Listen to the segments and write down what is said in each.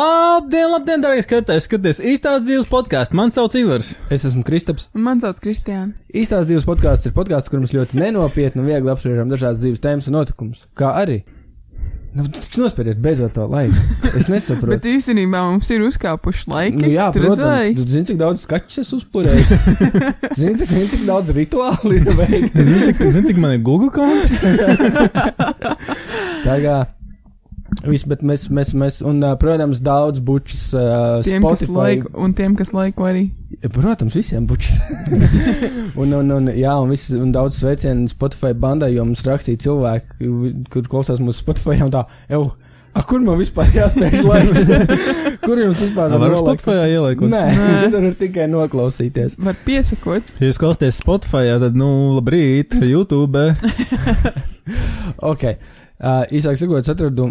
Labdien, labdien, darbie skatītāji! Skaties īstās dzīves podkāstu. Mani sauc Ivars. Es esmu Kristaps. Man sauc Kristiāna. Īstās dzīves podkāsts ir podkāsts, kur mums ļoti nenopietni un viegli apspriežam dažādas dzīves tēmas un notikumus. Kā arī. Nu, tas nospēriet beidzot to laiku. Es Bet nesaprotu. īstenībā mums ir uzkāpuši laiki. Nu, jā, Tu protams. redzēji? Tu zini, cik daudz skaču es uzpūlēju. zini, cik- zini, cik daudz rituālu ir veikta. Zini, cik, zini, cik man ir Google konta? Tā kā. Viss, bet mēs, mēs, mēs, un, ā, protams, daudz bučs, uh, Tiem, kas Spotify. laiku, un tiem, kas laiku arī. Protams, visiem bučs. un, un, un, jā, un, vis, un daudz sveicienu Spotify bandai, jo mums rakstīja cilvēki, kur klausās mūsu Spotify, un tā, jau, a, kur man vispār jāspēj laiks? kur jums vispār nav Varu nolaikt? Spotify ieliekot. Nē, tur ir tikai noklausīties. Var piesakot. Ja jūs klausāties Spotify, tad, nu, labrīt, YouTube. Ok, uh, īsāk sakot, es atradu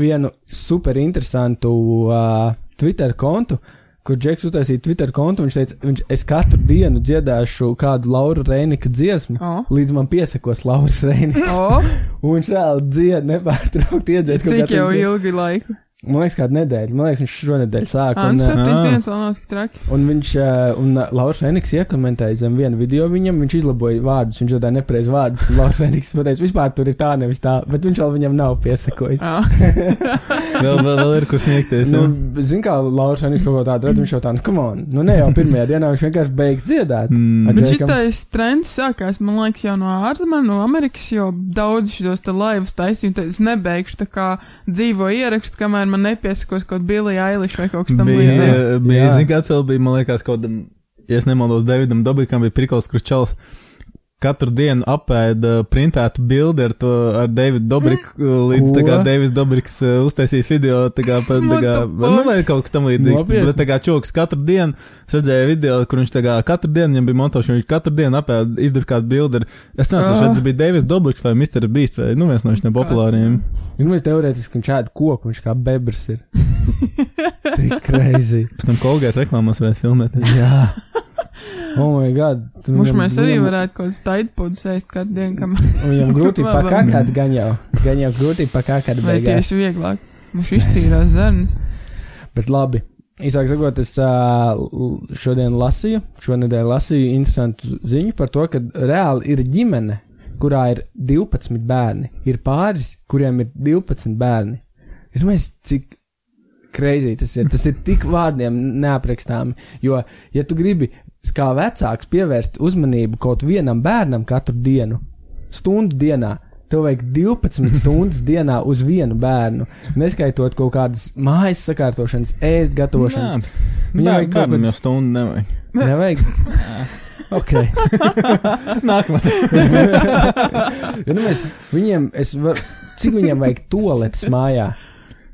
vienu super interesantu uh, Twitter kontu, kur Džeks uztaisīja Twitter kontu, un viņš teica, viņš, es katru dienu dziedāšu kādu Laura Reinika dziesmu. O, Līdz man piesakos Lauris Reinis. o Un viņš reāli dzied, nepārtraukti iedzēst. Oh. cik jau ilgi laika? Man liekas, kāda nedēļa. Man liekas, viņš šonadēļ sāk. Ā, Un, nu, ā, septiņas ā. dienas vēl nav tik traki. un viņš, ā, un ā, Lauris Eniks iekomentēja zem vienu video viņam, viņš izlaboja vārdus, viņš dzirdēja nepareiz vārdus. un Lauris Eniks pateica, vispār tur ir tā, nevis tā, bet viņš vēl viņam nav piesakojis. Ā, Vēl, vēl, vēl ir kur sniegties. Nu, Nu, Zinu, kā Lauris Eniks kaut ko tādu redz, viņš jau tādu, come on, nu ne jau pirmajā dienā viņš vienkārši beigs dziedāt. mm. Bet Džekam. šitais trends sākās, man liekas, jau no ārzemēm, no Amerikas, jo daudz šitos te laivas taisīju, tad es nebeigšu tā kā dzīvo ierakstu, kamēr man nepiesakos kaut Billy Eilish vai kaut kas tam bija, līdzīgs. bija Jā. zini, kāds vēl bija, man liekas, kaut kādam, ja es nemaldos, Davidam Dabikam bija prikals, kurš čels. Katru dienu apēda printētu bildi ar to, ar Davidu Dobriku, Mm. līdz tā kā Ko? Davids Dobriks uh, uztaisīs video, tā kā, pa- tā What kā, the nu, fuck? vai kaut kas tam līdzīgs. Nopietni? Bet tā kā čoks katru dienu, es redzēju video, kur viņš tā kā katru dienu, viņam bija montažs, viņš katru dienu apēda izdrukāt bildi ar, es nezinu, Ah. vai tas bija Davids Dobriks vai Mr. Beast vai, nu, viens no šiem populāriem. Ir mēs teorētiski, ka viņš šādi koku, viņš kā bebrs ir. Tik crazy. Pēc tam Kolgēt reklāmās varētu filmēt. Jā. Oh, my God. Tu Mums viņam- mēs arī viņam- varētu kaut kādas taidpūdas ēst kādu dienu, kam Viņam grūti Nu, Labi. pakāpēt, gan jau. Gan jau grūti pakāpēt, Vai beigās. tieši vieglāk? Mums iztīrās zarnas. Bet labi. Īsāk sakot, es ā, l- šodien lasīju, šonadēļ lasīju interesantu ziņu par to, ka reāli ir ģimene, kurā ir 12 bērni. Ir pāris, kuriem ir 12 bērni. Ir mēs, cik kreizī tas ir. Tas ir tik vārdiem neaprakstāmi. Jo, ja tu gribi kā vecāks pievērst uzmanību kaut vienam bērnam katru dienu, stundu dienā. Tev vajag 12 stundas dienā uz vienu bērnu, neskaitot kaut kādas mājas sakārtošanas, ēst, gatavošanas. Viņam Viņai ir kaut bērnam kāds- jau stundu nevajag. Nē, nevajag. Ok. Nākamā. Ja nu mēs, viņiem, es var, cik viņiem vajag toaletes mājā?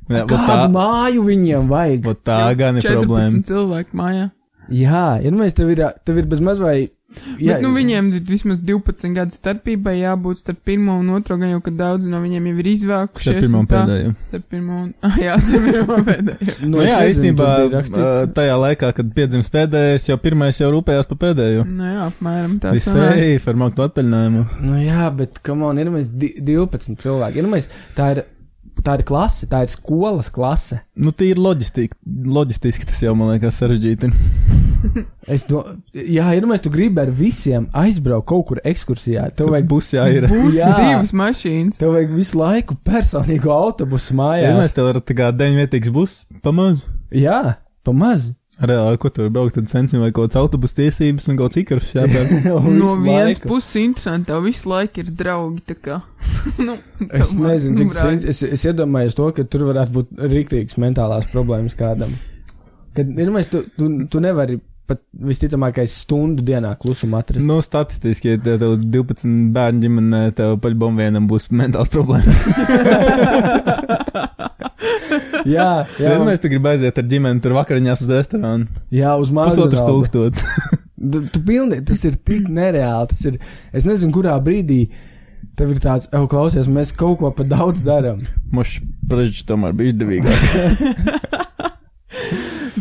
Jā, vot tā, Kādu māju viņiem vajag? vot tā gan ir 14 problēma. cilvēku mājā. Jā, ja nu mēs tev ir, ā, tev ir bez maz vai. Jā, Bet, nu, viņiem ir vismaz 12 gadu starpībai jābūt starp pirmo un otro, gan jau, ka daudz no viņiem jau ir izvēlkušies. Šeit pirmā un tā. pēdējā. Starp pirmo un, ah, jā, starp pirmo pēdējo. Nu, Nu, es jā, nezinu, īstenībā tur bija rakstīts- ā, tajā laikā, kad piedzimis pēdējais, jau pirmais jau rūpējās par Mm, pēdējo. Nu, jā, apmēram tā. sanāk. Visai ar mākslu atvaļinājumu. Nu, jā, bet, kam on, ir mēs 12 cilvēki. Ir mēs, tā ir, tā ir klase, tā ir skolas klase. Nu, tīri loģistik- loģistiski tas jau man liekas sarežģīti. Es do, jā, ir mēs, tu gribi ar visiem aizbraukt kaut kur ekskursijā. Tev vajag, Būs jāir. Būs Jā. divas mašīnas. tev vajag visu laiku personīgu autobusu Vienmēr mājās. tev ir tā kā deņvietīgs bus, pamaz. Jā, pamaz. Reāli, ko tur braukt, tad sensim vai kaut kāds autobus tiesības un kaut kāds ikars jāpērk. Un No visu vienas laiku. puses interesanti, tev visu laiku ir draugi, tā kā. nu, Es tev- nezinu, nu, cik tas ir. Es, es iedomājos to, ka tur varētu būt rīktīgas mentālās problēmas kādam. Kad ir mēs, tu, tu, tu nevari pat visticamākais stundu dienā klusumā atrast. Nu, statistiski, ja tev, tev 12 bērnu ģimenē, tev pašam vienam būs mentāls problēmas. jā, Jā, jā, mēs te gribam aiziet ar ģimeni tur vakariņās uz restorānu. jā, uz mājas. Pusotrs tūkstots. Tu, tu pilnīgi, tas ir tik nereāli. Tas ir, es nezinu, kurā brīdī tev ir tāds, oh, klausies, mēs kaut ko par daudz darām. Mums prečs tomēr bija izdevīgāk.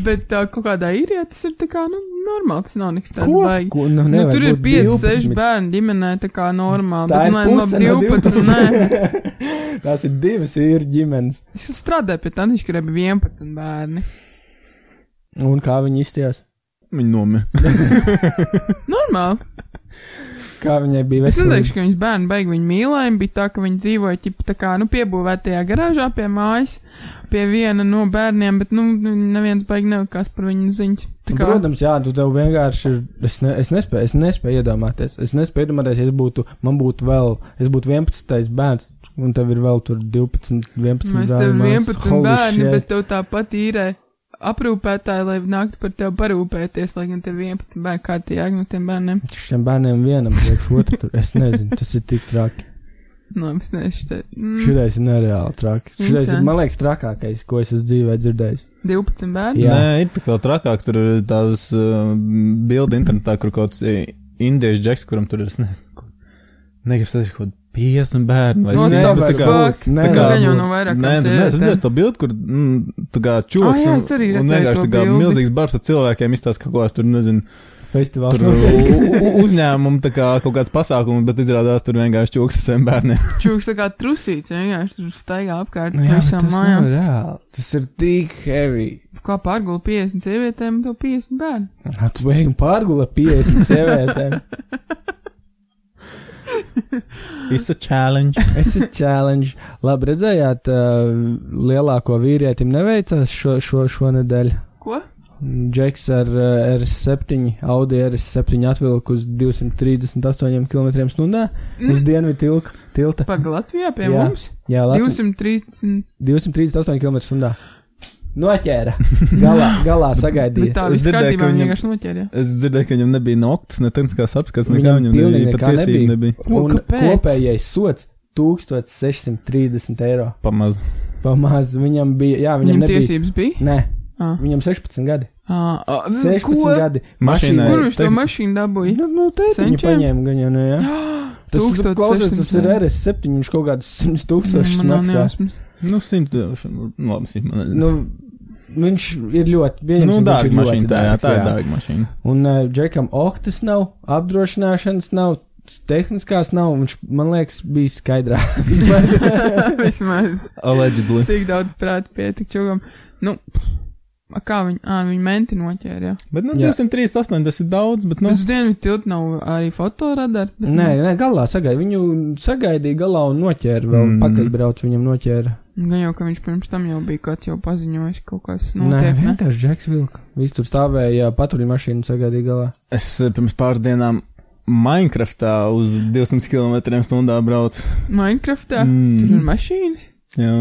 bet tā, kaut kādā īrijā tas ir tā kā, nu, normāli, tas nav nekas tāds Ko? baigi. Ko? Nu, Nu, nevar tur ir būt 5, 6 12. bērni ģimenē, tā kā normāli. Tā bet, ir nē, puse labi, no 12, nē. 12. Tās ir divas īri ģimenes. Es strādāju pie tā, ka ir 11 bērni. Un kā viņi izties? Viņa nomira. Normāli. Kā viņai bija Es nedomāju, veselība? ka viņas bērni beigās viņu mīlēja. Bija tā, ka viņi dzīvoja ķip, tā kā, nu, piebūvētajā garāžā pie mājas, pie viena no bērniem, bet nu, nu, neviens beigas nelikās par viņu ziņas. Tā kā, Protams, jā, tu tev vienkārši ir. Es, ne, es, nespēju, es nespēju iedomāties. Es nespēju iedomāties, ja es būtu, man būtu vēl, es būtu 11. bērns, un tev ir vēl tur 12, 11 mēs bērni tev mans. 11 Holy bērni, shit. bet tev tāpat īrē aprūpētāji, lai nāktu par tevi parūpēties, lai gan tev 11 bērni, kā tie jāg no tiem bērniem. Šiem bērniem vienam priekš otru, tur, es nezinu, tas ir tik traki. No, Nu, es nezinu, šitai. Mm, Šitais ir nereāli traki. Šitais ir, Interesanti. man liekas, trakākais, ko es esmu dzīvē dzirdējis. 12 Mm, bērni. Jā. Nē, ir tā kā trakāk, tur ir tās uh, bildi internetā, kur kaut kāds eh, indiešu džeks, kuram tur ir, es nezinu, negribu sasīt, kaut 50 bērnu vai No, 100, bet tā Nu, tā vairs kā. vēl. Tā kā, gan jau nav vairāk Nē, kā tu sievietēm. neesi redzējis to bildi, kur mm, tā kā Ah, čūlis jā, es arī un redzēju vienkārši to tā kā bildi. milzīgs bars ar cilvēkiem izstāsta kaut ko, tur nezinu, Festivāls. tur u- u- uzņēmumu tā kā kaut kāds pasākums, bet izrādās tur vienkārši čūlis ar saviem bērniem. Čūks tā kā trusīts, vienkārši tur staigā apkārt Nu jā, bet visām tas mājām. nav reāli. Tas ir tik heavy. Kā pārgulēt 50 sievietēm, tev 50 bērnu. Atsveikni pārgula 50 sievietēm. It's a challenge. Es esmu challenge. Labi, redzējāt, uh, lielāko vīrietim neveicās šo, šo, šonedēļ. Ko? Džeks ar uh, R7, Audi R7 atvilku uz 238 km/h uz dienvidu tilku, tilta. Pag Latvijā Mm. Jā. pie jā. mums? Jā, Latvi- 230. 238 km/h. Noķēra. Galā, galā Bet sagaidīja. tā Es viss dzirdēju, kārtībā ka viņa viņam- vienkārši noķēra. Es dzirdēju, ka viņam nebija nokts, ne tehniskās apskats, nekā Viņam viņam pilnīgi nebija nekā patiesība, nebija. nebija O, Un nu, kāpēc? kopējais sots 1630 eiro. pamaz. Pamaz viņam bija, jā, viņam, Viņam viņam nebija. tiesības bija? Nē, Ah. viņam 16 gadi. Ah, ah, nu, 16 ko? gadi. Mašīnai. Kur viņš to Te- mašīnu dabūja? Nu, nu tētiņa Senčiem? paņēma gan jau, nu, jā. Tas, tu 1600. klausies, tas ir RS7, viņš kaut kādus 100 tūkstošus Man nav maksā. nejausmas. Nu, simt, nu, labi, simt. man- Nu, viņš ir ļoti, pieņemsim, Nu, viņš dārga ir ļoti mašīna, tā, jā, dārgs, tā ir dārga mašīna. Un uh, Džekam oktas nav, apdrošināšanas nav, tehniskās nav, viņš, man liekas, bija skaidrā. Vismaz Allegedly. tik daudz prāta pietik čūgam. Nu, a, kā viņa, ah, viņa menti noķēra, jā. Bet, nu, Jā. 238, tas ir daudz, bet, nu, Nu. Uz dienu tiltu nav arī fotoradar. bet, nē, nē, galā sagaidīja, viņu sagaidīja galā un noķēra vēl, mm. Mm. pakaļbrauc viņam noķēra. Nu, gan jau, ka viņš pirms tam jau bija kāds jau paziņojis, ka kaut kas Nē, notiek. Ne? vienkārši Džeks vilka. Viņš tur stāvēja patruļmašīnu sagaidīja galā. es eh, pirms pāris dienām Minecraftā uz 200 km/h braucu. Minecraftā Mm. tur ir mašīnas. Jā,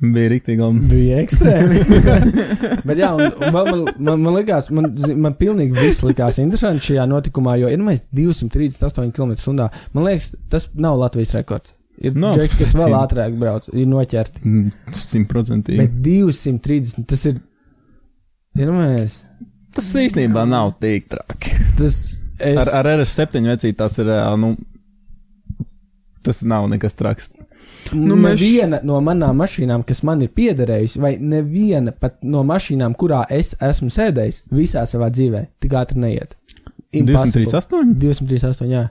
bija rīktīgi labi. Bija ekstrēmi. Bet jā, un, un vēl man, man, man likās, man, zi- man pilnīgi viss likās interesanti šajā notikumā, jo ir nu, mēs 238 km/h. Man liekas, tas nav Latvijas rekords. Ir no, Nav. džeks, kas vēl ātrāk brauc, ir noķerti. Mm, Simtprocentīgi. Bet 230 tas ir. Pirmais, Tas īstenībā nav tik traki. tas ir. Ar, ar RS7 vecīti tas ir, eh, nu, tas nav nekas traks. Nu, Nu, mēs- neviena no manām mašīnām, kas man ir piederējusi, vai neviena pat no mašīnām, kurā es esmu sēdējis visā savā dzīvē, tik ātri neiet. Impossible. 238? 238, jā.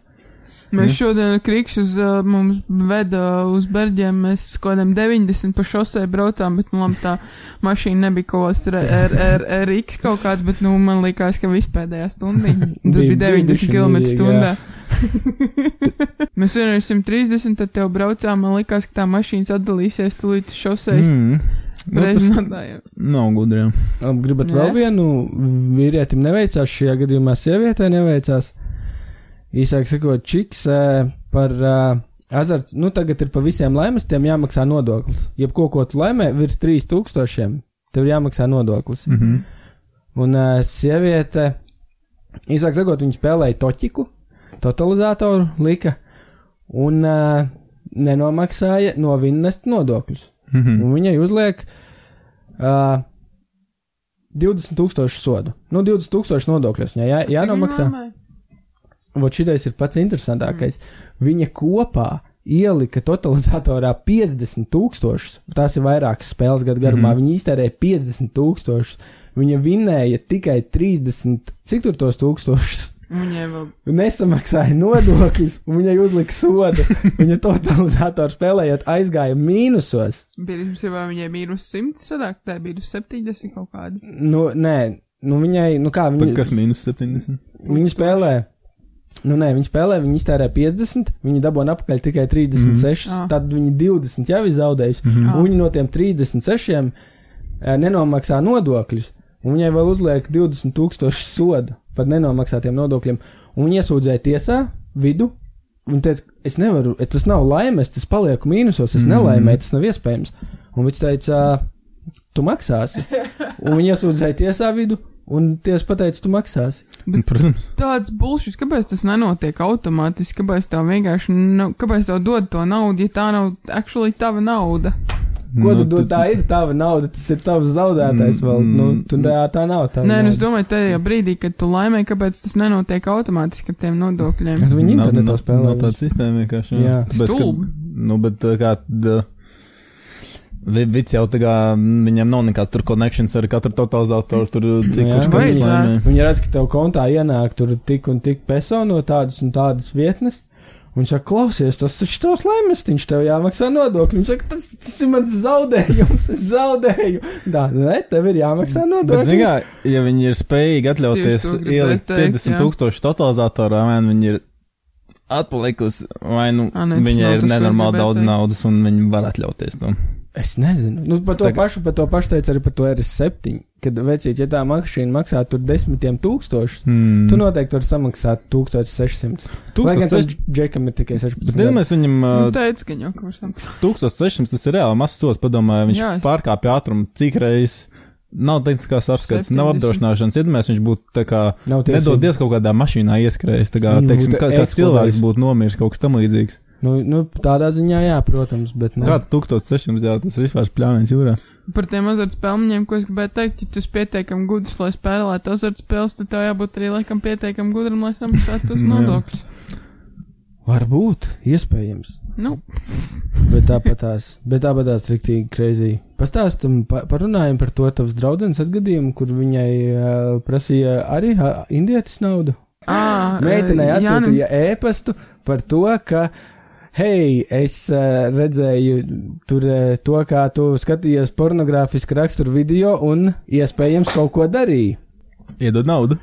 Mēs šodien krīks uz uh, mums veda uz berģiem, mēs uz kaut kādiem 90 pa šosē braucām, bet, nu, labi, tā mašīna nebija kaut kāds er, tur R- R- RX kaut kāds, bet, nu, man likās, ka vispēdējā stundā. Tas Bija- bija bija 90 bišķi km milzīgi, stundā. mēs vienreiz 130, tad tev braucām, man likās, ka tā mašīna atdalīsies tulīt uz šosēs. Mm. Mm. Nu, Reiz tas nodājām. nav gudri. jā. Labi, Gribat Nē. vēl vienu vīrietim neveicās, šajā gadījumā sievietē neveicās. Īsāk sakot, čiks eh, par eh, azarts, nu tagad ir pa visiem laimestiem jāmaksā nodoklis. Jebko, ko tu laimē, virs 3000, tev ir jāmaksā nodoklis. Mhm. Un uh, sieviete, īsāk sakot, viņa spēlēja toķiku, totalizatoru lika un uh, nenomaksāja no vinnest nodokļus. Mhm. Un viņai uzliek uh, 20,000 sodu. Nu, 20,000 nodokļus. Jā, jā, Cik viņa jānomaksā. mammai? Mm. Vot šitais ir pats interesantākais. Viņa kopā ielika totalizatorā 50 tūkstošus. Tās ir vairākas spēles gadu garumā. Mm -hmm. Viņi iztērēja 50 tūkstošus. Viņa vinēja tikai 30, cik tur tos tūkstošus. Viņai vēl Nesamaksāja nodokļus, un viņai uzlika sodu. Viņa totalizatoru spēlējot aizgāja mīnusos. bija pirms jau viņai mīnus 100 sanāk, tā bija mīnus 70 kaut kāda. Nu, nē, nu viņai, nu kā Par viņa. kas mīnus 70? Viņi spēlē. Nu, nē, viņi spēlē, viņi iztērē 50, viņi dabūna apakaļ tikai 36, mm Ah. -hmm. tad viņi 20 jau ir zaudējuši. Mm -hmm. Ah. Viņi no tiem 36 eh, nenomaksā nodokļus, un viņai vēl uzliek 20,000 sodu par nenomaksātiem nodokļiem. Un viņi iesūdzēja tiesā vidu. Viņa teica, es nevaru, eh, tas nav laimes, tas palieku mīnusos, es mm -hmm. nelaimēju, tas nav iespējams. Un viņš teica, tu maksāsi. un viņi iesūdzēja tiesā vidu, un tiesa pateica, tu maksāsi. Bet- Protams. Tāds bulšs, kāpēc tas nenotiek automātiski, kāpēc tev vienkārši, nav, kāpēc tev dod to naudu, ja tā nav actually tava nauda. Ko Nu, tu dod? Tā ir tava nauda, tas ir tavs zaudētais vēl. Mm, Nu, tu, tā, tā nav tā. Nē, nu es domāju, tajā brīdī, kad tu laimē, kāpēc tas nenotiek automātiski ar tiem nodokļiem. ka viņi Nav- internetā nav- spēlē. Nav tāda sistēma vienkārši. Jā. Tāpēc, ka- Stulbi. Nu, bet uh, kā. d- vi- Vits jau tā kā mm, viņam nav nekāda tur konekšanas ar katru totalizatoru, tur cik Jā. kurš Vajadzētu. kāds laimē. Viņi redz, ka tev kontā ienāk tur tik un tik personu no tādas un tādas vietnes. Viņš saka, klausies, tas taču tavs laimestiņš tev jāmaksā nodokļi. Viņš saka, tas, tas ir mans zaudējums, es zaudēju. Tā, nē, tev ir jāmaksā Bet, nodokļi. zinā, ja viņi ir spējīgi atļauties to gribēju ielikt teikt, 50 jā. tūkstošu totalizatorā, man viņi ir atpalikusi, vai nu Ā, nē, tas viņai nav ir tas, ko es nenormāli gribēju daudz teikt. naudas un viņi var atļauties to. Es nezinu. Nu, par to Tagad- Tagad. pašu, par to pašu teicu arī par to RS7. Kad vecīt, ja tā mašīna maksā tur desmitiem tūkstošus, Hmm. Tu noteikti vari samaksāt 1600. Lai gan tas 1600. džekam ir tikai Bet 16. gadi. nedomāju, viņam Nu, ā, teica, ka jau kaut kas tāds. 1600 tas ir reāli mazs sots, padomāju, viņš Jā, es- pārkāpja ātrumu cik reizes. Nav tehniskās apskates, nav 70. apdrošināšanas. Iedomājieties, viņš būtu tā kā Nav tiesību. nedodies kaut kādā mašīnā ieskrējis. Tā kā, Viņš teiksim, būtu kā, kāds cilvēks eksplodējis. būtu nomiris, kaut kas tam līdzīgs. Nu, nu, tādā ziņā, jā, protams, bet. Nu, Kāds 1600, jā, tas vispār pļāvins jūrā. Par tiem azartspēlēm, ko es gribēju teikt, ja tu esi pietiekami gudrs, lai spēlētu azartspēles, tad tev jābūt arī laikam pietiekami gudram, lai samaksātu tos Nu, jā. nodokļus. Varbūt, iespējams. Nu, Bet tāpat tās, bet tāpat tās riktīgi kreizī. Pastāstam, pa, parunājam par to tavs draudzenes atgadījumu, kur viņai uh, prasīja arī uh, indietis naudu. ā, Meitenei eh, Jāni- atsūtīja ēpastu par to, ka, hei, es eh, redzēju tur eh, to, kā tu skatījies pornogrāfisku raksturu video un iespējams kaut ko darīji. Iedod naudu.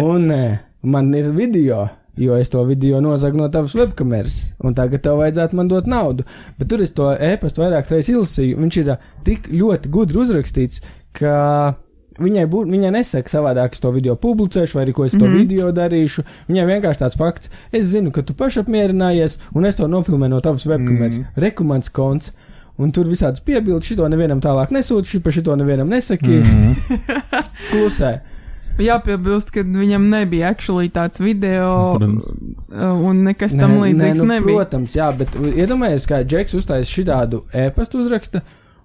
Un eh, man ir video. Jo es to video nozagu no tavas webkameras, un tagad tev vajadzētu man dot naudu. Bet tur es to ēpastu vairāk reizes izlasīju. Viņš ir eh, tik ļoti gudri uzrakstīts, ka viņai, bū, viņai nesaka savādāk, es to video publicēšu, vai arī ko es to mm -hmm. video darīšu. Viņai vienkārši tāds fakts, es zinu, ka tu pašapmierinājies, un es to nofilmēju no tavas webkameras. Mm -hmm. Rekomends konts. Un tur visādas piebildes, šito nevienam tālāk nesūtu, šī pa šito nevienam nesaki. Mm Mhm. Mhm. -hmm. Klusē. Jāpiebilst, ka viņam nebija actually tāds video Protams. uh, un nekas tam līdzīgs nu, nebija. Protams, jā, bet iedomājieties, kā Džeks uztais šitādu ēpastu uzraksta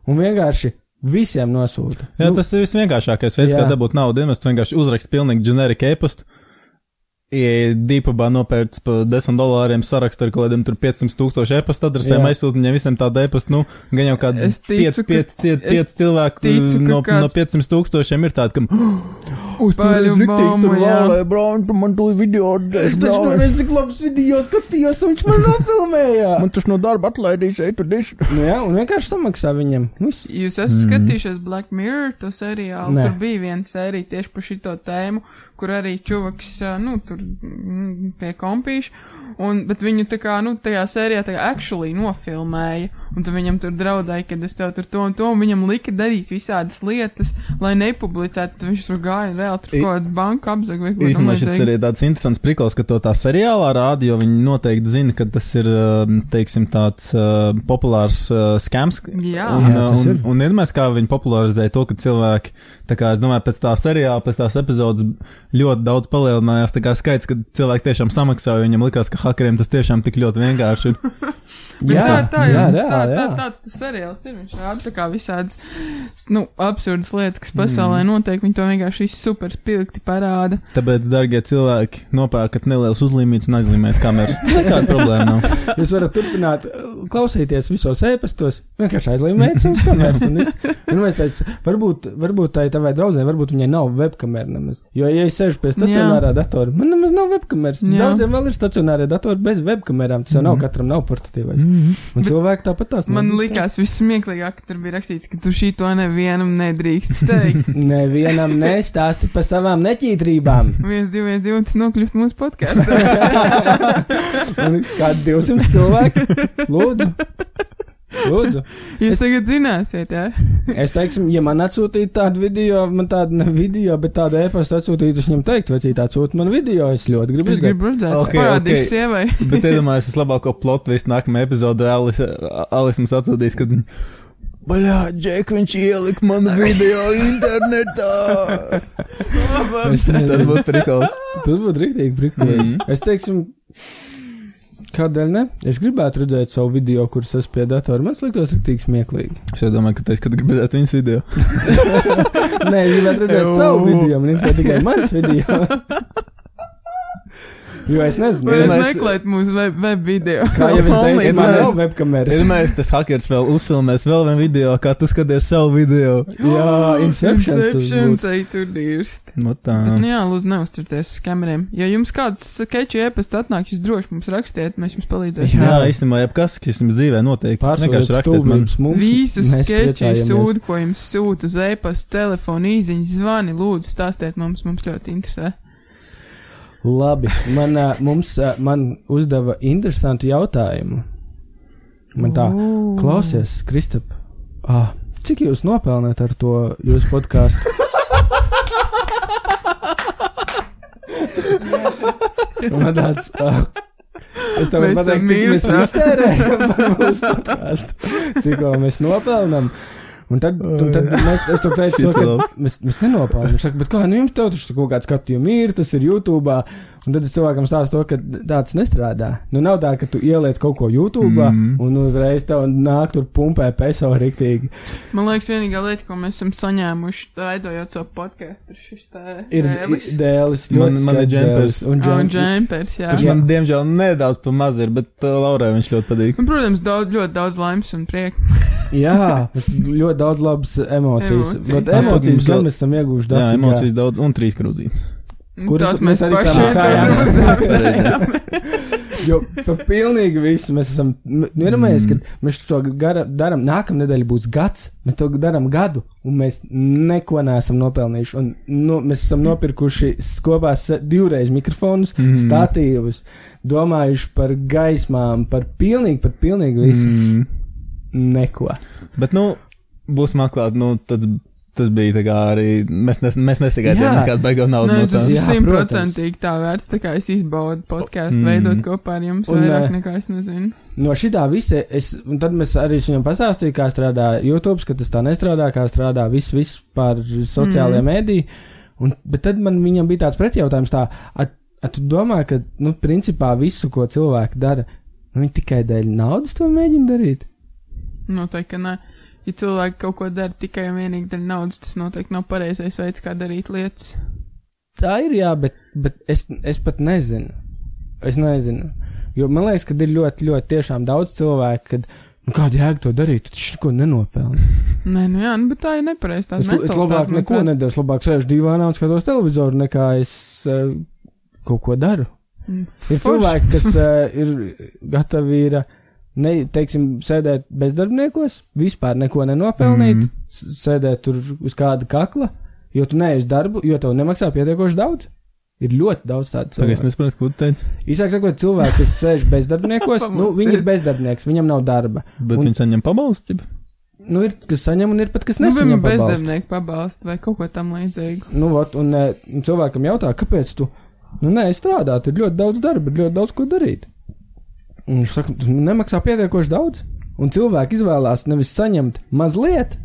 un vienkārši visiem nosūta. Jā, nu, tas ir visvienkāršākais veids, jā. jā. kā dabūt naudu. Ja mēs vienkārši uzrakstām pilnīgi ģeneriku e-pastu, dīpabā nopērts par 10 dolāriem sarakstu ar kaut kādiem tur 500 tūkstošu e-pastu adresēm, Jā. aizsūtīt viņiem visiem tādu e-pastu, nu, gan jau kādi Es ticu, 5, 5, ka- 5, es 5 cilvēki ticu, ka no, kāds- no 500 tūkstošiem ir tādi, kam uz Paļu baumu, jā. brāl, tu man to video, Es taču nevienu cik labs video skatījos, un viņš man nofilmēja. tas no darba atlaidīs, ej, tur diši. nu, jā, un vienkārši samaksā viņam. Viss. Jūs esat Mhm. mm. skatījušies Black Mirror to seriālu. Nē. Nē. Tur bija viena sērija tieši par šito tēmu, kur arī čuvaks, ā, nu, tur mm, pie kompīša. Un, bet viņu tā kā, nu, tajā sērijā tā kā actually nofilmēja, un tu viņam tur draudēja, ka es tev tur to un to, un viņam lika darīt visādas lietas, lai nepublicētu, tad viņš tur gāja reāli tur I- kaut kādu banku apzagu vai ko Īstenībā šis ir tāds interesants priklis, ka to tā seriālā rāda, jo viņi noteikti zina, ka tas ir, um, teiksim, tāds uh, populārs uh, skams. Jā. un, Jā, tas uh, un, ir. un iedomājieties, kā viņi popularizēja to, ka cilvēki, tā kā es domāju, pēc tā seriāla, pēc tās epizodes ļoti daudz palielinājās, tā kā skaits, ka cilvēki tiešām samaksāja, viņam likās, ka hakeriem tas tiešām tik ļoti vienkārši ir. Bet Jā, tā, tā, jau- jā, tā, reāli, tā, jā. tāds tas seriāls ir. Viņš rāda tā kā visādas, nu, absurdas lietas, kas pasaulē Mm. notiek. Viņi to vienkārši visu super spilgti parāda. Tāpēc, darbie cilvēki, nopērkat nelielus uzlīmītus un aizlīmēt kameras. Nekāda problēma nav. Jūs varat turpināt uh, klausīties visos ēpastos, vienkārši aizliegumēt savus kameras. Un, viss. un es teicu, varbūt, varbūt tā ir tavai draudzene, varbūt viņai nav webkamera nemaz. Jo, ja es sēžu pie stacionārā datora, man nemaz nav webkameras. Jā. Mhm. Daudziem vēl ir stacionārie datori bez webkamerām. Tas jau nav katram nav portatīvais. Un cilvēki tāpat tās Man nezin. likās vissmieklīgāk, ka tur bija rakstīts, ka tu šī to nevienam nedrīkst teikt. Nevienam nestāsti par savām neķītrībām. Viens, divi, viens, divi, tas nokļūst mūsu podkāstā. Un Kādi 200 cilvēki? Lūdzu! Lūdzu! Jūs tagad zināsiet, jā? Es teiksim, ja man atsūtītu tādu video, man tādu ne video, bet tādu e-pastu atsūtītu, es viņam teiktu, vecīt, atsūti man video, es ļoti gribu Es redzēt. gribu redzēt, Ok, okay, parādīšu ok. okay. sievai. Bet iedomājieties, tas labāko plotu visā nākamajā epizodē Alis, Alis mums atsūtīs, kad. Baļā, Džek, viņš ielika manu video internetā. Es Tas nezinu. būtu prikals. Tas būtu rīktīgi, brīnīgi. Mhm. Es teiksim, kādēļ ne? Es gribētu redzēt savu video, kurus es pie datora. Man liktos rīktīgi smieklīgi. Es jau domāju, ka tas, kad gribētu redzēt viņas video. Nē, es gribētu redzēt Jū. savu video, man interesē tikai mans video. Jo es nezinu, Vai jūs Vienmēr- es, meklējat mūsu web, web video? kā jau es teicu, man Vienmēr- nav webkameras. Pirmais, tas hackers vēl uzfilmēs vēl vienu video, kā tu skaties savu video. Jā, Inceptions tas Inceptions, ej, tur dirst. Nu tā. Bet, nu jā, lūdzu, neuzturieties uz kamerām. Ja jums kāds sketču iepasts atnāk, jūs droši mums rakstiet, mēs jums palīdzēsim. Jā, īstenībā, jebkas, kas jums dzīvē notiek, Pārsvarā vienkārši rakstiet man. stūmības mums. Visus mēs sketčus priecājamies. sūdu, ko jums sūta uz e-pasta, telefona īziņas, zvani, lūdzu, stāstiet mums, mums ļoti interesē. Labi, man, ā, mums, ā, man uzdeva interesantu jautājumu. Man tā, Ooh. klausies, Kristap, ah, cik jūs nopelnāt ar to jūsu podkāstu? Man tāds, ah, es tev Mēs varu pateikt, cik mēs esam iztērējam par mūsu podkāstu, cik ko mēs nopelnām. Un tad, un tad mēs, es to teicu, to, Šis ka labi. mēs, mēs nenopelnām. Viņš saka, bet kā, nu jums tev taču kaut kāds skatījums ir, tas ir YouTube. Un tad es cilvēkam stāstu to, ka tāds nestrādā. Nu, nav tā, ka tu ieliec kaut ko YouTube mm. Mhm. un uzreiz tev nāk tur pumpē peso riktīgi. Man liekas, vienīgā lieta, ko mēs esam saņēmuši, raidojot savu podkāstu, ir šis tā Ir dēlis. dēlis, Man- ļoti man ir skaists džempers. dēlis Un Ah, Un džempers. džempers, jā. Kurš man, diemžēl, nedaudz pa maz ir, bet uh, Laurai viņš ļoti patīk. Un, protams, daudz, ļoti daudz laimes un prieka. Jā, tas ļoti daudz labas emocijas. Emocijas. Bet Jā, emocijas mums gan ļoti- mēs esam ieguvuši Jā, Dafnikā. emocijas daudz un trīs krūzīs. Nu, Kuras tās mēs arī paši viens samaksājām. otram uzdāvinājām. Jo pa pilnīgi visu mēs esam. Nu, iedomājies, mm. ka mēs to gara, darām, nākamā nedēļa būs gads, mēs to darām gadu, un mēs neko neesam nopelnījuši. Un, nu, mēs esam nopirkuši s- kopā se- divreiz mikrofonus, mm. statīvus, domājuši par gaismām, par pilnīgi, par pilnīgi visu. Mm. Mm. Neko. Bet, nu, būsim atklāti, nu, tas, tas bija tā kā arī. Mēs, nes, mēs nesagaidījām Jā. nekādu beigu naudu Nē, no tā. Nu, tas ir Jā, simtprocentīgi tā vērts, tā kā es izbaudu podkāstu, Mm. veidot kopā ar jums Un, ā, vairāk nekā es nezinu. No šitā visa, es, un tad mēs arī viņam pastāstījām, kā strādā YouTube, ka tas tā nestrādā, kā strādā viss vispār sociālajā mm. mēdī. Un, bet tad man viņam bija tāds pretjautājums, tā, at, at tu domā, ka, nu, principā visu, ko cilvēki dara, viņi tikai dēļ naudas to mēģina darīt? Noteikti, ka nē. Ja cilvēki kaut ko dara tikai un vienīgi dēļ naudas, tas noteikti nav pareizais veids, kā darīt lietas. Tā ir jā, bet, bet es, es pat nezinu. Es nezinu. Jo man liekas, ka ir ļoti, ļoti tiešām daudz cilvēku, kad, nu, kāda jēga to darīt, tu taču neko nenopelni. Nē, nu jā, nu, bet tā ir nepareiza. tā Es, es mentalitāte, labāk manuprāt. neko nedaru. Es labāk sēžu divānā un skatos televizoru, nekā es uh, kaut ko daru. Mm, Ir forši. cilvēki, kas uh, ir gatavi ir, uh, ne, teiksim, sēdēt bezdarbniekos, vispār neko nenopelnīt, Mhm. mm. sēdēt tur uz kāda kakla, jo tu neej uz darbu, jo tev nemaksā pietiekoši daudz. Ir ļoti daudz tādu Tagad es cilvēku. nesaprotu, ko tu teici. Īsāk sakot, cilvēki, kas sēž bezdarbniekos, nu, Pamostiet. viņi ir bezdarbnieks, viņam nav darba. Bet Un- viņi saņem pabalstu. tipa? Nu, ir, kas saņem un ir pat, kas Nu, nesaņem. piemēram, pabalstu. bezdarbnieku pabalstu vai kaut ko tam līdzīgu. Nu, vat, un eh, un cilvēkam jautā, kāpēc tu nu, nestrādāt, ir ļoti daudz darba, ir ļoti daudz ko darīt. Un Viņš saka, tu nemaksā pietiekoši daudz, un cilvēki izvēlās nevis saņemt mazliet,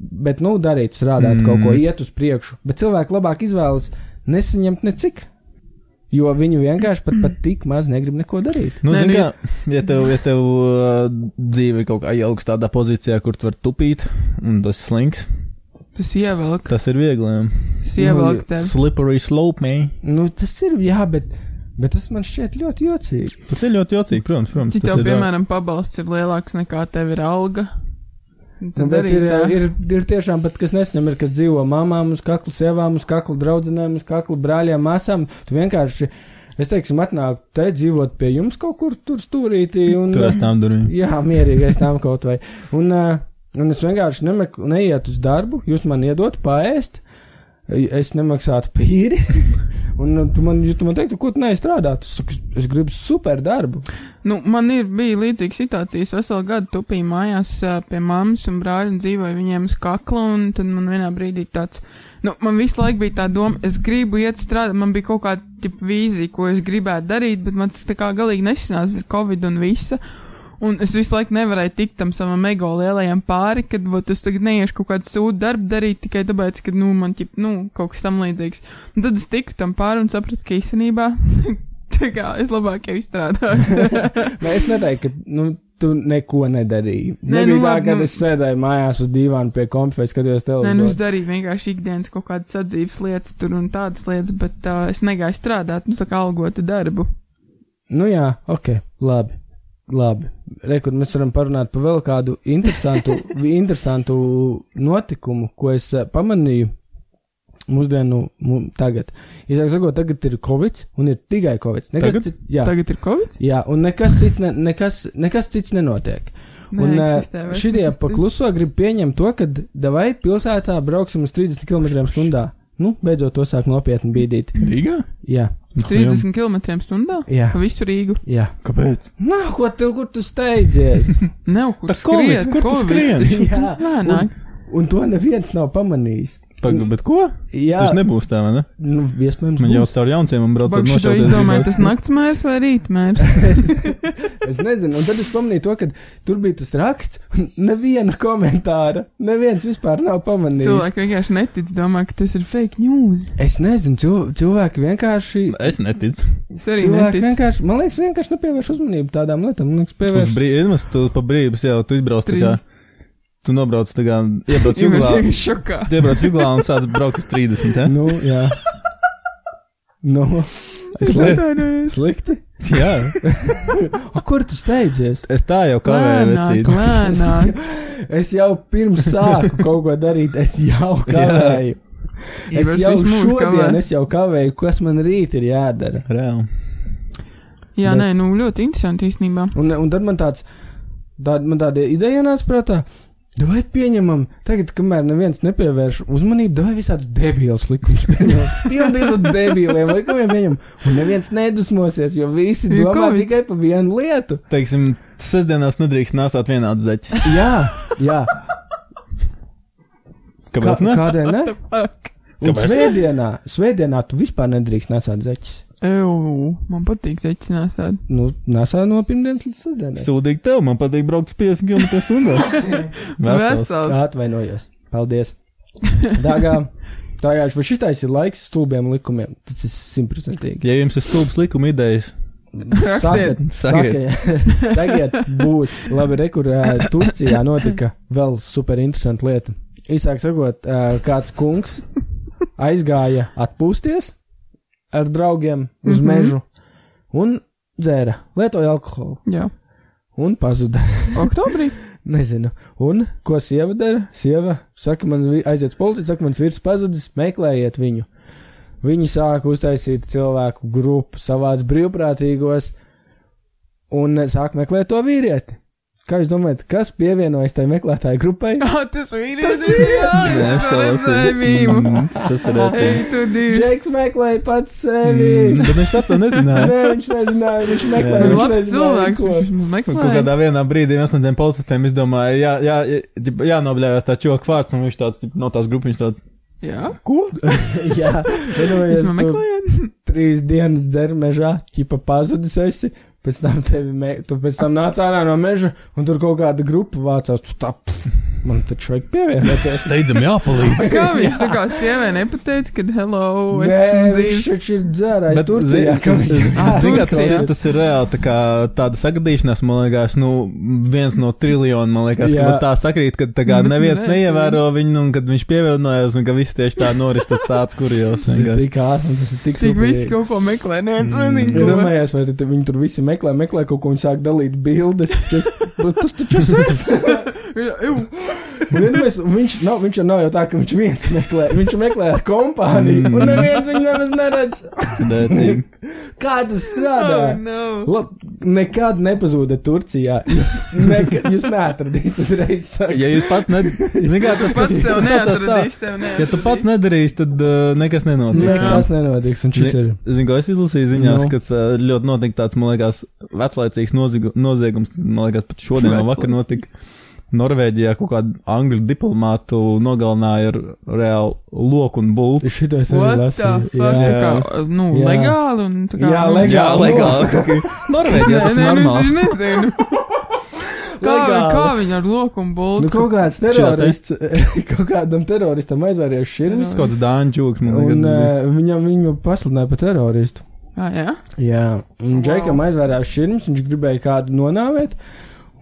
bet, nu, darīt, strādāt, mm. kaut ko iet uz priekšu. Bet cilvēki labāk izvēlas nesaņemt necik. Jo viņi vienkārši pat, pat tik maz negrib neko darīt. Nu, Nē, zini, nu, kā, ja tev, ja tev uh, dzīve ir kaut kā ieliks tādā pozīcijā, kur tu vari tupīt, un tas slinks, Tas ievelk, tas ir viegli. jā. tas Nu, ievelk tev. Slippery slope, man. Nu, tas ir, jā, bet, bet tas man šķiet ļoti jocīgi. Tas ir ļoti jocīgi, protams. protams Cik tas tev, ir, uh, jā. piemēram, pabalsts ir lielāks nekā tev ir alga? Nu, Tad bet arī ir, tā. ir, ir tiešām, bet kas nesaņem, ir, kas dzīvo mamām, uz kakla sievām, uz kakla draudzenēm, uz kakla brāļiem, māsām. Tu vienkārši, es teiksim, atnāku te dzīvot pie jums kaut kur tur stūrītī. Un, Tur aiz tām durvīm. Jā, mierīgais tam kaut vai. Un, ā, un es vienkārši nemeklu, neietu uz darbu, jūs man iedot paēst, es nemaksātu pīri. Un nu, tu man, ja tu man teiktu, ko tu neizstrādā? Es, saku, es gribu super darbu. Nu, man ir bija līdzīga situācija. Es veselu gadu tupīju mājās ā, pie mammas un brāļa un dzīvoju viņiem uz kakla, un tad man vienā brīdī tāds, nu, man visu laiku bija tā doma, es gribu iet strādāt, man bija kaut kāda tipa vīzija, ko es gribētu darīt, bet man tas tā kā galīgi nesanās ar Covid un visa. Un es visu laiku nevarēju tikt tam savam ego lielajam pāri, kad vot, es tagad neiešu kaut kādu sūdu darbu darīt tikai tāpēc, ka, nu, man ķip, nu, kaut kas tam līdzīgs. Un tad es tiku tam pāri un sapratu, ka īstenībā, tā kā es labāk jau izstrādāju. Nē, es neteiktu, ka nu, tu neko nedarīji. Nē, Nebija nu, tā, labi, ka nu- es sēdēju mājās uz dīvāna pie konfes, skatījos Nē, nu es televizoru. darīju vienkārši ikdienas kaut kādas sadzīves lietas, tur un tādas lietas, bet uh, es negāju strādāt, nu, tā kā algotu darbu. Nu jā, ok, labi. Labi, rekur mēs varam parunāt par vēl kādu interesantu, interesantu notikumu, ko es eh, pamanīju mūsdienu, mū, tagad. Izāk sakot, tagad ir covid, un ir tikai covid. Nekas Tagad? cits- Jā, Tagad ir covid? jā, un nekas cits, ne, nekas, nekas cits nenotiek. Un eh, Neeksistē vairs šitie nekas pa cits. kluso grib pieņemt to, ka davai pilsētā brauksim uz 30 km/h. Nu, beidzot, to sāk nopietni bīdīt. Rīgā? Jā, Nu, 30 km stundā? Jā. Pa visu Rīgu. jā. Kāpēc? Nu, ko tu, kur tu steidzies? Nav kur Tā Covid, skriet, kur tu Covid skrien? taču. Jā. Nē, nē. Un, un to neviens nav pamanījis. Pagaidu, bet ko? Jā, Tas nebūs tā, vai ne? nu, iespējams, Man jau būs. caur jaunciem un braucot Bakšu to nošauties izdomāja, gribās. tas naktsmērs vai rītmērs? es nezinu. Un tad es pamanīju to, ka tur bija tas raksts, un neviena komentāra, neviens vispār nav pamanījis. Cilvēki vienkārši netic, domā, ka tas ir fake news. Es nezinu, cil cilvēki vienkārši. Es neticu. Es arī Cilvēki neticu. vienkārši, man liekas, vienkārši nepievērš uzmanību tādām lietām. Man liekas, Uz pievērš. brīvības, tu pa brīvības jau tu izbrauc tā kā. Trīs. Tu nobrauc tā kā, iebrauc Cilvēki jūglā. vienkārši šokā. Tu iebrauc jūglā un sāc braukt uz 30, ja? Nu, jā. Nu, Es lietu. slikti. Jā, A, kur tu steidzies? es tā jau kavēju Lēnāk, vecīt. lēnāk. Es jau pirms sāku kaut ko darīt, es jau kavēju. Es Ivars jau visu mūžu šodien, kavē. es jau kavēju, kas man rīt ir jādara. Reāli. Jā, Bet- nē, nu ļoti interesanti īstenībā. Un, un tad man tāds, tād, man tāda ideja nāca prātā. Dovai pieņemam, tagad, kamēr neviens nepievērš uzmanību, dovai visādus debilus likumus pieņemam. Pilnīgi uz debiliem likumiem pieņemam. Un neviens nedusmosies, jo visi Ir domā Covid. tikai par vienu lietu. Teiksim, sestdienās nedrīkst nāsāt vienāds zaķis. Jā, jā. Kā, Kāpēc ne? kādēļ ne? Un Kāpēc ne? svētdienā, svētdienā tu vispār nedrīkst nesāt zeķis. Eju, man patīk secināt tādu. Nu, nesā no pirmdienas līdz sestdienai. Sūdīgi tev, man patīk braukt uz 50 km stundā. Vesels. Vesels. Atvainojos. Paldies. Dāgā, dāgā, vai šis tais ir laiks stulbiem likumiem? Tas ir simtprocentīgi. Ja jums ir stulbs likuma idejas, Rakstiet, sakiet, sakiet, būs. Labi, rekur, ā, Turcijā notika vēl super interesanta lieta. Īsāk sakot, ā, kāds kungs aizgāja atpūsties ar draugiem uz Mhm. mežu un dzēra, lietoja alkoholu Jā, un pazuda. oktobrī. Nezinu. Un ko sieva dara? Sieva saka, man vi- aiziet uz policiju, saka, mans vīrs pazudis, meklējiet viņu. Viņi sāka uztaisīt cilvēku grupu, savāc brīvprātīgos un eh, sāk meklēt to vīrieti. Kā jūs domājat, kas pievienojas tai meklētāju grupai? Jā, tas vīrietis ir ir jāsadzēmību. tas ir Ei, redzams. tu divi. Džeks meklēja pats sevi. Mm. Bet viņš pat to nezināja. Nē, viņš nezināja, viņš Jā, meklēja. viņš Ir viņš labs nezināja, cilvēks, ko. viņš mums Un kaut meklē. kādā vienā brīdī viens no tiem policistiem izdomāja, jā, jā, jā, jānobļāvās tā čoka vārds, un viņš tāds, tip, no tās grupiņas tāds, Jā, ko? Jā, es vienojies. man tu- meklēju. trīs dienas dzērmežā, ķipa pazudis esi. Pēc tam tevi, me, tu pēc tam nāc ārā no meža, un tur kaut kāda grupa vācās. Tu tā, pf, man taču vajag pievienoties. Steidzam, jāpalīdz. Kā viņš tā kā sieviete nepateica, ka hello, es Nē, esmu viņš dzīves. taču ir dzērājis. Bet, Tur zini, ka- tas zini, kā tas ir, tas ir reāli tā kā, tāda sagadīšanās, man liekas, nu, viens no triljona, man liekas, Jā. ka pat tā sakrīt, ka tā kā Bet neviens Mm. nē, neievēro viņu, un kad viņš pievienojās, un ka viss tieši tā noris, tas tāds kurjos. Tas ir vienkārši. tik ātri, tas ir tik Cik superīgi. visi kaut ko meklē, neviens Mm. Ir vienīgi. domājis, vai te- viņi tur visi meklē, meklē kaut ko, viņi sāk dalīt bildes. Čet, bet tas taču es esmu. Un vienmēr, viņš, nav, viņš jau nav jau tā, ka viņš viens meklē, viņš meklē ar kompāniju, Mm. un neviens viņu nemaz neredz. Dēcīgi. Kā tas Oh, strādā? no. La, nekad nepazūdat Turcijā. Nekad, jūs neatradīs uzreiz. Saka. Ja jūs pats ne... Zini, kā tas, tas, Pats tas, sev tas, tas, neatradīs, tev Ja tu pats neatradīs. nedarīsi, tad uh, nekas nenotiks. Nekas nenotiks, un šis ir. Zinu, ko es izlasīju ziņās, no. Nu. ka uh, ļoti notika tāds, man liekas, veclaicīgs noziegu- noziegums. Man liekas, pat šodien vai vakar notika. Norvēģijā kaut kādu angļu diplomātu nogalināja ar reāli loku un bultu. Šito es arī What the lasīju. fuck? Tā Jā. kā, Nu, Jā. legāli un tā kā. Jā, nu, legāli. legāli. Norvēģijā Nē, tas nē, ir nu, es normāli. nezinu. Kā, Legāli. kā viņi ar loku un Nu, bultu? kaut kāds Čilā, terorists, kaut kādam teroristam aizvērīja širvis. Tas kaut kāds dāņu čūks, man Un liekas. uh, viņam viņu pasludināja par teroristu. Ah, jā. Jā, un Wow. Džekam aizvērās šķirnes, viņš gribēja kādu nonāvēt.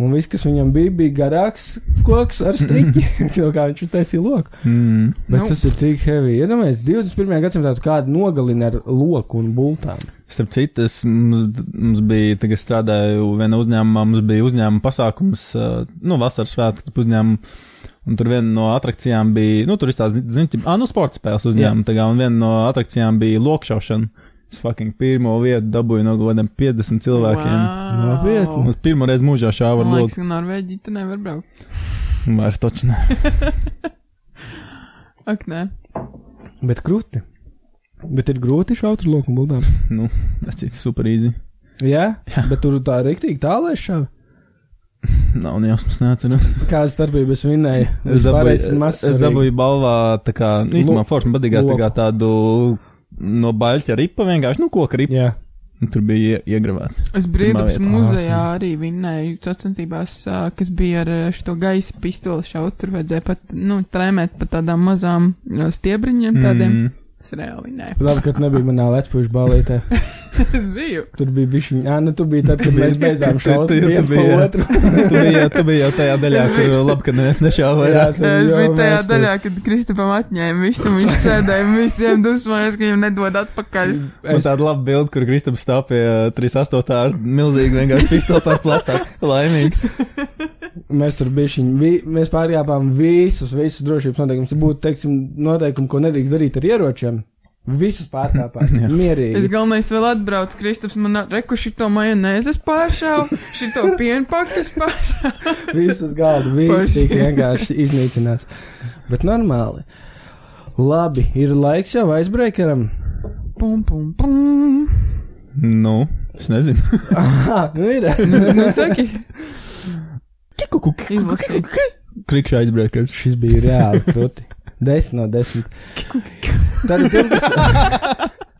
Un viss, kas viņam bija, bija garāks koks ar striķi, no kā viņš uztaisīja loku. Mm. Bet Nu. nu. tas ir tik heavy. Iedomājieties, 21. gadsimtā tu kādu nogalina ar loku un bultām. Starp citu, es, mums, mums bija, tagad es strādāju vienā uzņēmumā, mums bija uzņēmuma pasākums, ā, nu, vasaras svētku uzņēmuma, un tur viena no atrakcijām bija, nu, tur ir tāds, zini, ah, nu, sporta spēles uzņēmuma, tagad, un viena no atrakcijām bija lokšaušana. Es fucking pirmo vietu dabūju no kaut kādiem 50 cilvēkiem. Nopietni. Wow. Mums pirmo reizi mūžā šāva ar Man liekas, loku. ka Norvēģija te nevar braukt. Vairs toču ne. Ak, nē. Bet krūti. Bet ir grūti šaut ar loku un bultām. Nu, tas ir super īsi. Jā, Jā. bet tur tā rīktīgi tālāk šāva. Nav ne jausmas, neatceros. Kāda starpība es vinēju? Es Vispārējais dabūju, mazs es svarīgi. dabūju balvā, tā kā, nu, īstenībā Lo- forši man patīkās tā kā tādu no baļķa ripa vienkārši, nu, koka ripa. Jā. Un Tur bija ie- iegravēts. Es brīvības vietā. muzejā arī vinnēju sacensībās, ā, kas bija ar ā, šo gaisa pistoli šaut. Tur vajadzēja pat, nu, trēmēt pa tādām mazām ā, stiebriņiem tādiem. Mm. Es reāli vinnēju. Labi, ka tu nebija manā vecpuļu balītē. Es biju. Tur bija bišķi, jā, nu tu biji tad, kad mēs beidzām Tu- tu- šaut tu- tu viens pa biji, jā. otru. Nu, tu, biji, tu biji jau tajā daļā, kur labi, ka neviens nešāva vairāk. tu- Es jo biju tajā mēs te- daļā, kad Kristupam atņēma visu, un viņš sēdēja un visiem dusmojas, ka viņam nedod atpakaļ. Un tāda laba bilde, kur Kristaps stāv pie ā, 38. ar milzīgu vienkārši pistoli par plecām. Laimīgs. Mēs tur bišķiņ, vi, mēs pārkāpām visus, visus drošības noteikumus. Tur būtu, teiksim, noteikumi, ko nedrīkst darīt ar ieročiem. Visus pārkāpām. Jā. Es Mierīgi. galvenais vēl atbraucu, Kristaps, man reku šito majonēzes pāršāvu, šito pienpakas pāršāvu. Visus galdu, visus Paši. tik vienkārši iznīcinās. Bet normāli. Labi, ir laiks jau aizbreikeram. Pum, pum, pum. Nu, es nezinu. Aha, nu ir. Nu, saki, Kikuku. izlasīju. Krikšā aizbraukers. Šis bija reāli krūti. 10 no 10. Tātad tiem, kas,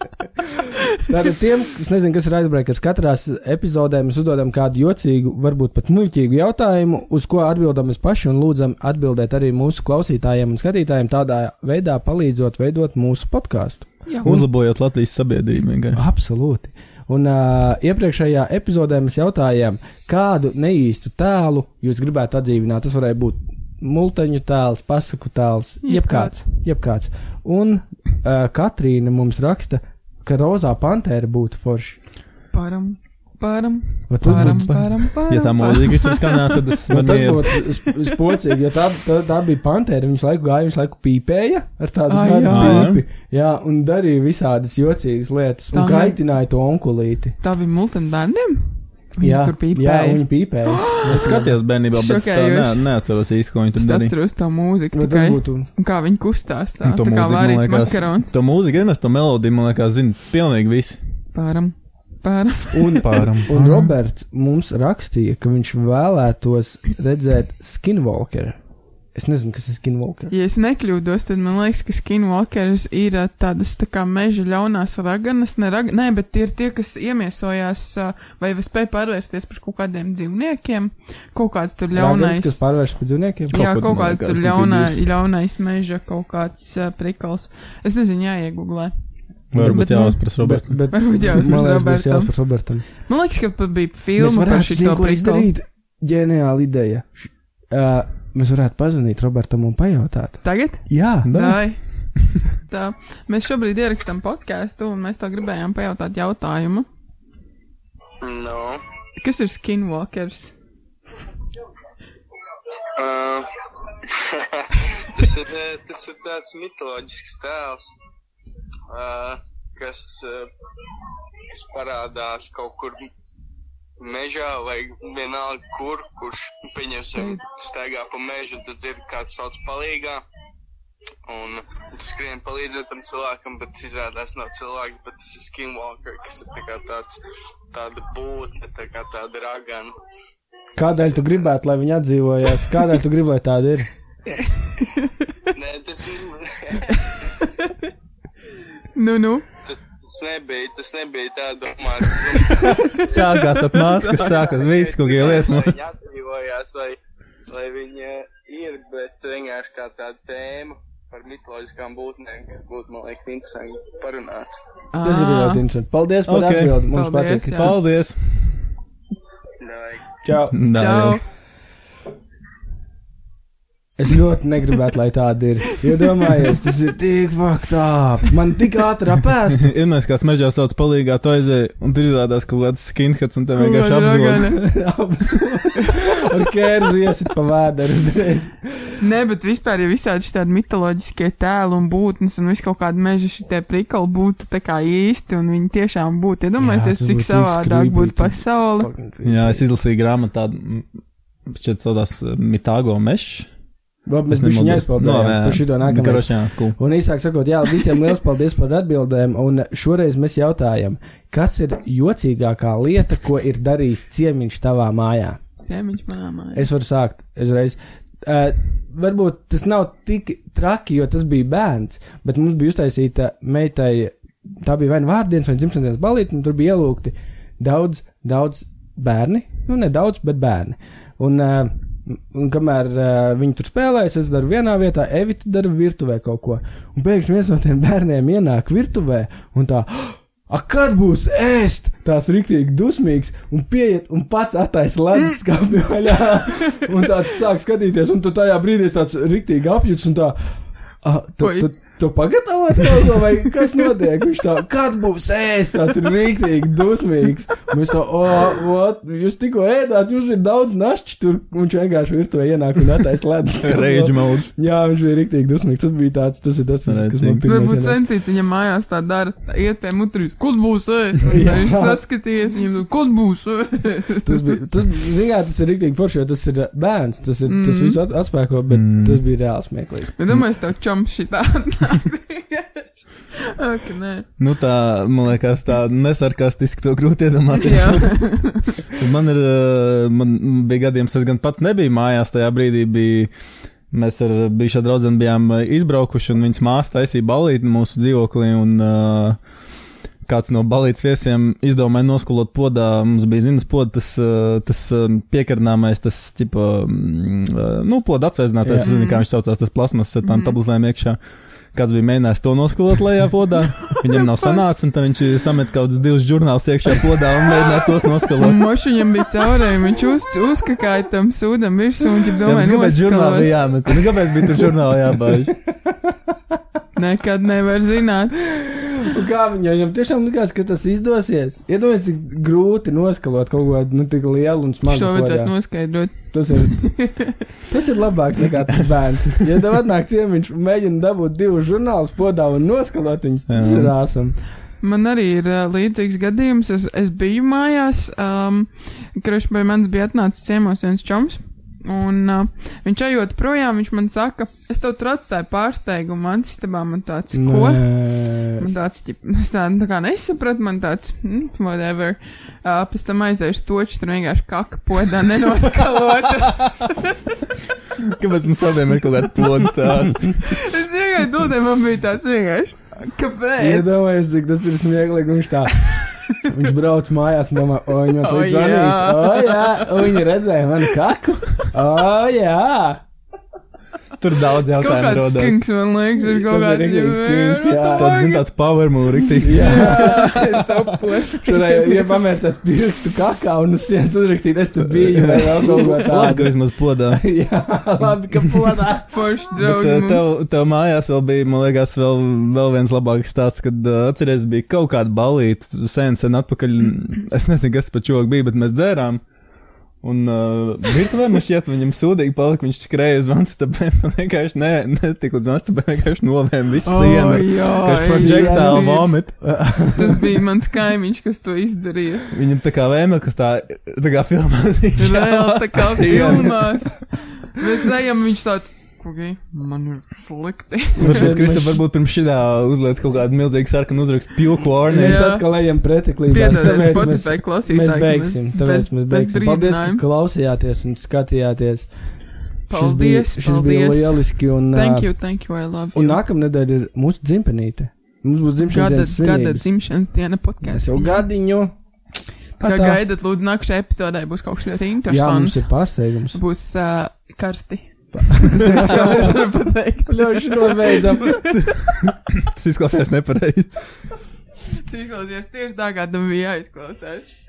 tātad tiem, kas nezina, kas ir aizbraukts, katrā epizodē mēs uzdodam kādu jocīgu, varbūt pat muļķīgu jautājumu, uz ko atbildam mēs paši un lūdzam atbildēt arī mūsu klausītājiem un skatītājiem, tādā veidā palīdzot veidot mūsu podkāstu. Jā. Uzlabojot Latvijas sabiedrību vienkārši. Absolūti. Un uh, iepriekšējā epizodē mēs jautājām, kādu neīstu tēlu jūs gribētu atdzīvināt. Tas varēja būt multiņu tēls, pasaku tēls, jebkāds. Jebkāds. jebkāds. Un uh, Katrīna mums raksta, ka rozā pantēra būtu forša. Param, param, Vai tas param, būtu- param, param. Ja tā mūzika visur skanā, tad es Ah. Un man Tas ir. būtu sp- spocīgi, jo tā, tā, tā bija pantēra. Viņas laiku gāja, viņas laiku pīpēja ar tādu Ai, garu jā. pīpi. Jā, un darīja visādas jocīgas lietas. Un Tā ne- kaitināja to onkulīti. Tā bija multena bērniem? Viņi Jā, tur jā, pīpēja. viņi pīpēja. Es skatījos bērnībā, bet es tā ne, Šokējoši. neatceros īsti, ko viņi tur Es darīja. atceros to mūziku Vai Nu, tas tikai. būtu Un kā viņi kustās tā, Nu, Un tā kā mūziku, man vārīts liekas, makarons. To mūziku, gan es to melodiju, man liekas, zinu pilnīgi visi. Param, param. Un, Pāram. un Roberts mums rakstīja, ka viņš vēlētos redzēt skinwalkeru. Es nezinu, kas ir skinwalker. Ja es nekļūdos, tad man liekas, ka skinwalkers ir ā, tādas tā kā meža ļaunās raganas, ne, rag... Nē, bet tie ir tie, kas iemiesojās ā, vai spēja pārvērsties par kaut kādiem dzīvniekiem. Kaut kāds tur Ragans, ļaunais. kas pārvērš par dzīvniekiem. Kaut Jā, kad, kaut man kāds liekas, tur nu, ļaunā, kad ļaunais meža kaut kāds uh, prikals. Es nezinu, jāiegūglē. Varbūt Bet, nu, jāuzprasa Bet, Robertam. bet, Varbūt jāuzpras man liekas, būs Robertam. jāuzpras Robertam. Man liekas, ka pat bija Mēs filma par varētu šo zinu, ko prikalu. izdarīt. Ģeniāla ideja. Š- ā, Mēs varētu pazvanīt Robertam un pajautāt. Tagad? Jā, Dai. Tā. Mēs šobrīd ierakstām podkāstu, un mēs tā gribējām pajautāt jautājumu. Nu, Kas ir skinwalkers? uh, tas, ir, eh, tas ir tāds mitoloģisks tēls, uh, kas, uh, kas parādās kaut kur mežā vai vienalga kur, kurš pieņemsim staigā pa mežu, tad ir kāds sauc palīgā. Un tu skrien palīdzēt tam cilvēkam, bet tas izrādās nav cilvēks, bet tas ir skinwalker, kas ir tā kā tāds, tāda būtne, tā kā tāda ragana. kādēļ tu gribētu, lai viņi atdzīvojās? Kādēļ tu gribētu tādu ir? Nē, tas ir. Nu, nu. Tas, tas nebija, tas nebija tā domāts. Tas Sākās atnāca, kas sākās viss, ko gēlies. Lai viņi atbrīvojās, vai, vai viņi eh, ir, bet vienkārši kā tāda tēma par mitoloģiskām būtnēm, kas būtu, man liekas, interesanti parunāt. Ah. Tas ir Ā, ļoti interesanti. Paldies par Ok. okay. atbildi. Mums Paldies, patīk. jā. Paldies! Lai Čau. Dā, Čau. jā. Es ļoti negribētu, lai tāda ir. Iedomājies, tas ir tik faktā. Man tik ātri apēst. Iedomājieties, kāds mežā sauc palīgā to aizēju, un tur izrādās kaut kāds skinheads, un tev Kaut vienkārši kāda apzīmēs. ragana. Abas. Ar kērzu iesit pa vēderu uzreiz. Nē, bet vispār, ja visādi šādi mitoloģiskie tēli un būtnes un viss kaut kāda meža šitie prikali būtu tā kā īsti un viņi tiešām būtu, tas iedomājieties, cik būtu savādāk inskrībīti. būtu pasauli. Jā, es izlasīju grāmatu tādu, mm, šķiet, saucās uh, Mitāgo mežs. Labi, mēs bišķiņā aizpildījām. Par šito nākamajā. Karošajā, cool. Un īsāk sakot, jā, visiem liels paldies par atbildēm. Un šoreiz mēs jautājam, kas ir jocīgākā lieta, ko ir darījis ciemiņš tavā mājā? Ciemiņš manā mājā. Es varu sākt uzreiz. Uh, varbūt tas nav tik traki, jo tas bija bērns, bet mums bija uztaisīta meitai, tā bija vai nu vārdienas vai dzimšanas dienas balīti, un tur bija ielūgti daudz, daudz bērni. Nu, ne daudz, bet bērni. Un, uh, un kamēr uh, viņi tur spēlējas, es daru vienā vietā, Evita dara virtuvē kaut ko. Un pēkšņi viens no tiem bērniem ienāk virtuvē un tā. A, kad būs ēst, tās rīktīgi dusmīgs, un pieiet, un pats attaisno ledus skābi vaļā. Un tāds sāk skatīties, un tu tajā brīdī esi tāds rīktīgi apjūts, un tā, a, tu, Oi. tu, tu pagatavot kaut ko, vai kas notiek? Viņš tā, kad būs ēst, tāds ir rīktīgi dusmīgs. Un Mēs tā, o, what, jūs tikko ēdāt, jūs ir daudz našķi tur, un viņš vienkārši virtuvē ienāk un attaisno ledus. skābi. Rage mode. Jā, viņš bija rīktīgi dusmīgs, tas bija tāds, tas ir tas, kas man Redzīgi. pirmais Varbūt ienāca. sencīts viņam mājās tā dara, tā iet pie mutrīt, kur būs ēst? Un Jā. Viņš saskaties, viņam, kur būs ēst? Tas bija, tas, zināt, tas ir rīktīgi forši, jo tas ir uh, bērns, tas, ir, mm. tas Mhm. visu at- atspēko, bet mm. tas bija reāli smieklīgi. Es domāju, es tev čoms šitā. Ok, nē. Nu tā, man liekas, tā nesarkastiski to grūti iedomāties. Jā. Man, ir, uh, man bija gadījums, es gan pats nebiju mājās tajā brīdī. Bija, mēs ar bijušā draugu bijām uh, izbraukuši, un viņas māsa taisīja balīti mūsu dzīvoklī. Un, uh, Kāds no balīdzes viesiem izdomāja noskulot podā. Mums bija zināms, pods, tas, uh, tas uh, piekarnāmais, tas, tipo, mm, uh, nu, pods atsveicinātais, Jā. es nezinu, kā viņš saucās, tas plasmas ar tām tablazēm iekšā. Kāds bija mēģinājis to noskulot lejā podā, viņam nav sanācis, un tad viņš samet kaut kādus divus žurnālus iekšā podā un mēģināja tos noskulot. Un mošiņam bija caurēji, viņš uz, uzkakāja tam sūdam virsū un, ja Jā, bet domāju, kāpēc žurnālā noskalos. jāmet? Nu, kāpēc bija tur žurnālā jābāž? Nekad nevar zināt. Un Nu, kā viņam, viņam tiešām likās, ka tas izdosies? Iedomājieties, cik grūti noskalot kaut ko nu, tik lielu un smagu. ko, Šo jā. vajadzētu noskaidrot. Tas ir, tas ir labāks nekā tas bērns. Ja tev atnāk ciemiņš, un mēģina dabūt divus žurnālus podā un noskalot viņus, tas Jā. ir āsam. Man arī ir uh, līdzīgs gadījums. Es, es biju mājās, um, kurš pie manis bija atnācis ciemos viens čoms. Un uh, viņš ejot projām, viņš man saka, es tev tur atstāju pārsteigumu, man istabā man tāds, ko? Nē. Man tāds, ķip, es tā, tā kā nesapratu, man tāds, mm, whatever. Uh, pēc tam aizējuši toču, tur vienkārši kaka podā nenoskalota. Kāpēc mums tādiem ir kaut kāda plūda stāsta? es vienkārši dodēju, man bija tāds vienkārši. Kāpēc? Iedomājieties, cik tas ir smieklīgi. Viņš tā. Viņš brauc mājās un domā, o, viņa O, tur jā. zvanīs. O, jā, o, viņa redzēja manu kaku. O, jā. Tur daudz Tas kaut jautājumu kāds rodas. kinks, man liekas, ir Tas kaut ir kāds rīktīgs kinks, jā. Tāds, zin, tāds power move, riktīgi. Jā. Es tev pošu. Šodien ir pamērcēt pirkstu kakā un uz sienas uzrakstīt, es te biju vai vēl kaut ko Labi, tādu. ka vismaz plodā. Jā, labi, ka podā. Forši Bet draugi. eh, mums. tev, tev mājās vēl bija, man liekas, vēl, vēl viens labāks stāsts, kad eh, atceries, bija kaut kāda balīta sen, sen atpakaļ. Es nezinu, kas par čoku bija, bet mēs dzērām. Un uh, virtuvē man šķiet, viņam sūdīgi palika, viņš skrēja uz vanstapēm, un vienkārši ne, ne tik līdz vanstapēm, vienkārši novēm visu O, sienu. jā, Kas es projektāli vienmēr- vomit. Tas bija mans kaimiņš, kas to izdarīja. Viņam tā kā vēmē, kas tā, tā kā filmā Viņš vēl tā kā siena. filmās. Mēs ejam, viņš tāds, ok, man ir slikti. Varbūt Šeit Krista, mēs- varbūt pirms šitā uzliec kaut kādu milzīgu sarkanu uzrakstu pilku ornē. Mēs Jā. atkal ejam pretiklībās. Piedodies, tāpēc mēs- Spotify Mēs klausītāji. beigsim, tāpēc mēs beigsim. Paldies, ka brīdinājuma. klausījāties un skatījāties. Šis bija, Paldies, šis bija paldies. lieliski. Un, Thank ā, you, thank you, I love un you. nākamā nedēļa ir mūsu dzimtenīte. Mums būs dzimšanas Gada, dienas gada svinības. dzimšanas diena Mēs podkāstā. jau gadiņu. Kā Atā. gaidat, lūdzu, nākamajā epizodē būs kaut kas ļoti Jā, mums interesants. ir pārsteigums. Būs uh, karsti. Tas ir viss, ko es varu pateikt. Ļoti nobeidzam. Tas izklausās nepareizi. Cik klausies tieši tā, kā tam bija jāizklausās.